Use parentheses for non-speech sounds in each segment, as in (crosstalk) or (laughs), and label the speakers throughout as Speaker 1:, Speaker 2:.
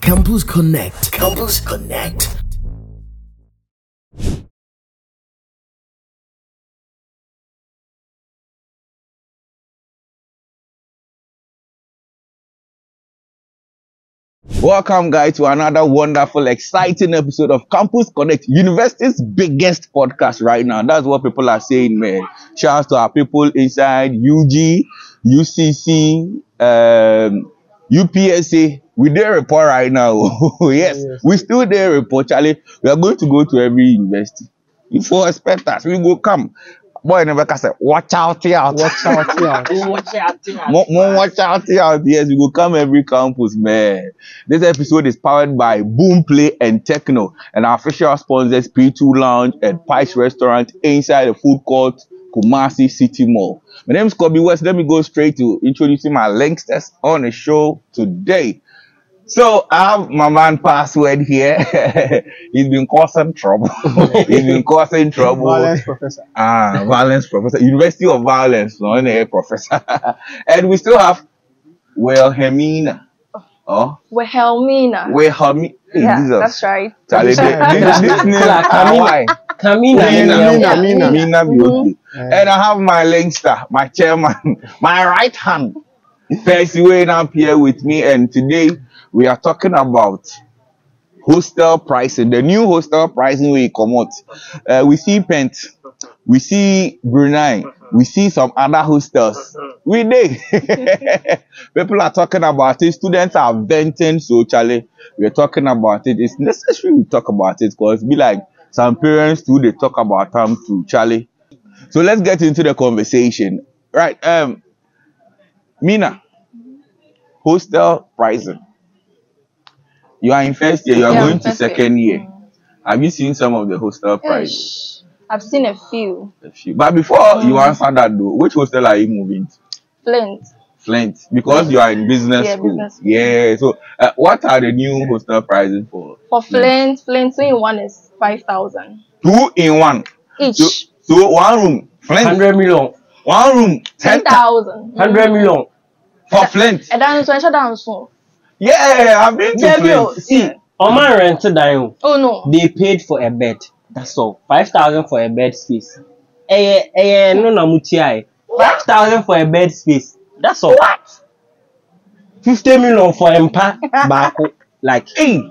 Speaker 1: Campus Connect. Campus Connect.
Speaker 2: Welcome, guys, to another wonderful, exciting episode of Campus Connect, university's biggest podcast right now. That's what people are saying, man. Shouts to our people inside UG, UCC, um, UPSA. We there report right now. (laughs) yes, we still there report, Charlie. We are going to go to every university. If you expect us, we go come. Boy, never can say, watch out, out.
Speaker 3: Watch out, yeah.
Speaker 2: More, more watch out here out here. You will come every campus, man. This episode is powered by Boom Play and Techno and our official sponsors P2 Lounge and Pies Restaurant inside the food court Kumasi City Mall. My name is Kobe West. Let me go straight to introducing my linksters on the show today. So I have my man password here. (laughs) He's been causing trouble. He's been causing trouble.
Speaker 3: Violence professor.
Speaker 2: Ah, violence professor, University of Violence, no, a professor. (laughs) and we still have Wilhelmina. Oh,
Speaker 4: Wilhelmina.
Speaker 2: Wilhelmina.
Speaker 4: yeah, that's right.
Speaker 2: Charlie,
Speaker 4: That's
Speaker 2: this,
Speaker 4: right.
Speaker 2: this name
Speaker 5: Like Amina.
Speaker 2: Hawaii.
Speaker 5: Kamina.
Speaker 3: Mina,
Speaker 4: Yeah.
Speaker 3: Mina.
Speaker 2: Mina Bioki.
Speaker 4: Mm-hmm.
Speaker 3: Yeah.
Speaker 2: And I have my Leinster, my chairman, (laughs) my right hand, Percy Wayne up here with me. And today we are talking about hostel pricing, the new hostel pricing we come out. Uh, we see Pent, we see Brunei, we see some other hostels. We did. People are talking about it. Students are venting socially. We're talking about it. It's necessary we talk about it because be like some parents too, they talk about time too, Charlie. So let's get into the conversation. Right. Um Mina, hostel pricing. You are in first year, you are
Speaker 4: Yeah,
Speaker 2: going to
Speaker 4: first year. Mm.
Speaker 2: second year. Have you seen some of the hostel prices?
Speaker 4: Ish. I've seen a few.
Speaker 2: A few. But before you
Speaker 4: Mm.
Speaker 2: answer that though, which hostel are you moving to?
Speaker 4: Flint.
Speaker 2: Flint, because you are in business
Speaker 4: Yeah,
Speaker 2: school.
Speaker 4: business school.
Speaker 2: Yeah. So, uh, what are the new hostel prices for
Speaker 4: For Flint, Flint two in one is five thousand
Speaker 2: two in one? So,
Speaker 4: each.
Speaker 2: so one room, Flint,
Speaker 5: 100 million.
Speaker 2: one room,
Speaker 4: Ten
Speaker 2: ten thou-
Speaker 4: thousand. Mm.
Speaker 5: 100 million.
Speaker 2: for Flint.
Speaker 4: And then so down soon.
Speaker 2: Yeah, I've been to
Speaker 5: Yeah,
Speaker 2: Flint.
Speaker 5: bro, see, on my rent down,
Speaker 4: Oh no.
Speaker 5: they paid for a bed. That's all. 5,000 for a bed space. Eh, eh, eh, no, no, mutia. 5,000 for a bed space. That's all. What? 50 million for empa baako. Like,
Speaker 2: Hey.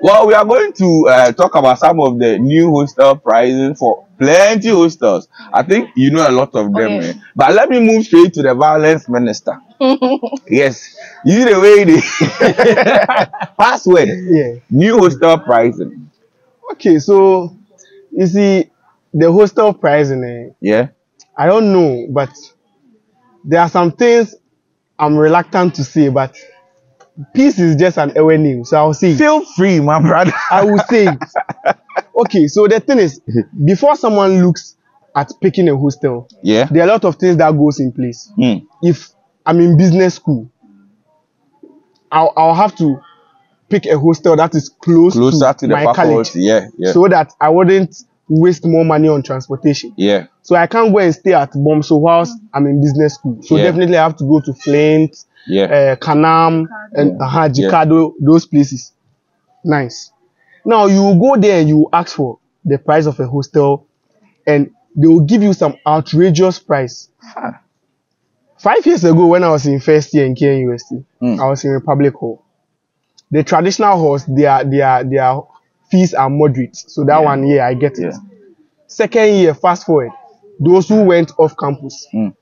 Speaker 2: Well, we are going to uh, talk about some of the new hostel pricing for plenty hostels. I
Speaker 3: Mm-hmm.
Speaker 2: think you know a lot of them.
Speaker 4: Okay.
Speaker 2: eh. But let me move straight to the violence
Speaker 3: (laughs)
Speaker 2: minister. yes, you see the way they (laughs) password
Speaker 3: Yeah.
Speaker 2: new hostel pricing.
Speaker 3: Okay, so you see, the hostel pricing, eh,
Speaker 2: Yeah,
Speaker 3: I don't know, but there are some things I'm reluctant to say, but peace is just an away name, so I'll say. it.
Speaker 2: feel free, my brother.
Speaker 3: I will say it.
Speaker 2: (laughs)
Speaker 3: Okay, so the thing is, before someone looks at picking a hostel, (laughs)
Speaker 2: yeah.
Speaker 3: there are a lot of things that goes in place.
Speaker 2: Hmm.
Speaker 3: if I'm in business school, I'll, I'll have to pick a hostel that is close
Speaker 2: Closer to the
Speaker 3: my college
Speaker 2: faculty. Yeah, yeah,
Speaker 3: so that I wouldn't waste more money on transportation.
Speaker 2: yeah.
Speaker 3: So I can't go and stay at Bomso whilst I'm in business school. So
Speaker 2: Yeah.
Speaker 3: definitely I have to go to Flint,
Speaker 2: Yeah.
Speaker 3: uh, Kanam, and uh,
Speaker 2: Yeah.
Speaker 3: Jikado, those places. Nice. Now you will go there and you will ask for the price of a hostel, and they will give you some outrageous price. Five years ago, when I was in first year in KNUST,
Speaker 2: Mm.
Speaker 3: I was in a public hall. The traditional halls, their their their fees are moderate, so that one year I get it.
Speaker 2: Yeah.
Speaker 3: Second year, fast forward, those who went off campus,
Speaker 2: Mm.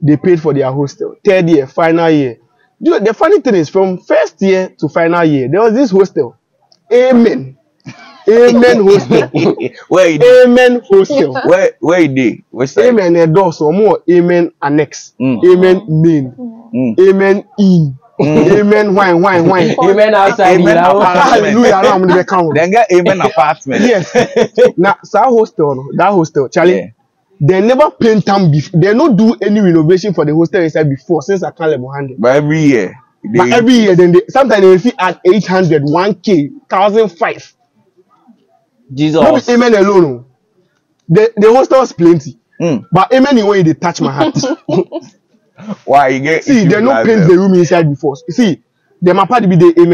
Speaker 3: they paid for their hostel. Third year, final year. You know, the funny thing is, from first year to final year, there was this hostel. Amen. Amen
Speaker 2: (laughs)
Speaker 3: hostel.
Speaker 2: (laughs) where you dey?
Speaker 3: Amen
Speaker 2: (laughs)
Speaker 3: hostel.
Speaker 2: Where where you dey? Which side?
Speaker 3: Eh. Amen endorse or more. Amen annex.
Speaker 2: Mm.
Speaker 3: Amen main.
Speaker 2: Mm.
Speaker 3: Amen in. Amen wine wine wine.
Speaker 5: amen outside
Speaker 2: (laughs) Amen
Speaker 5: the house.
Speaker 3: Hallelujah. now I'm in the count.
Speaker 2: Then get amen apartment.
Speaker 3: (laughs) Yes. Now, that hostel, no, that hostel, Charlie.
Speaker 2: Yeah.
Speaker 3: They never paint them before. They not do any renovation for the hostel inside before since I can't level handle.
Speaker 2: (laughs) But every year. They,
Speaker 3: But every year, then they, sometimes they will see at 800, 1K, 1,005. No
Speaker 2: Oh.
Speaker 5: Jesus.
Speaker 3: be amen alone. o. The, the hostel's plenty.
Speaker 2: Mm.
Speaker 3: But amen in when they touch
Speaker 2: (laughs)
Speaker 3: my heart.
Speaker 2: why you get
Speaker 3: see,
Speaker 2: issues
Speaker 3: they no
Speaker 2: like
Speaker 3: paint
Speaker 2: that?
Speaker 3: the room inside before. See, them apart be the amen.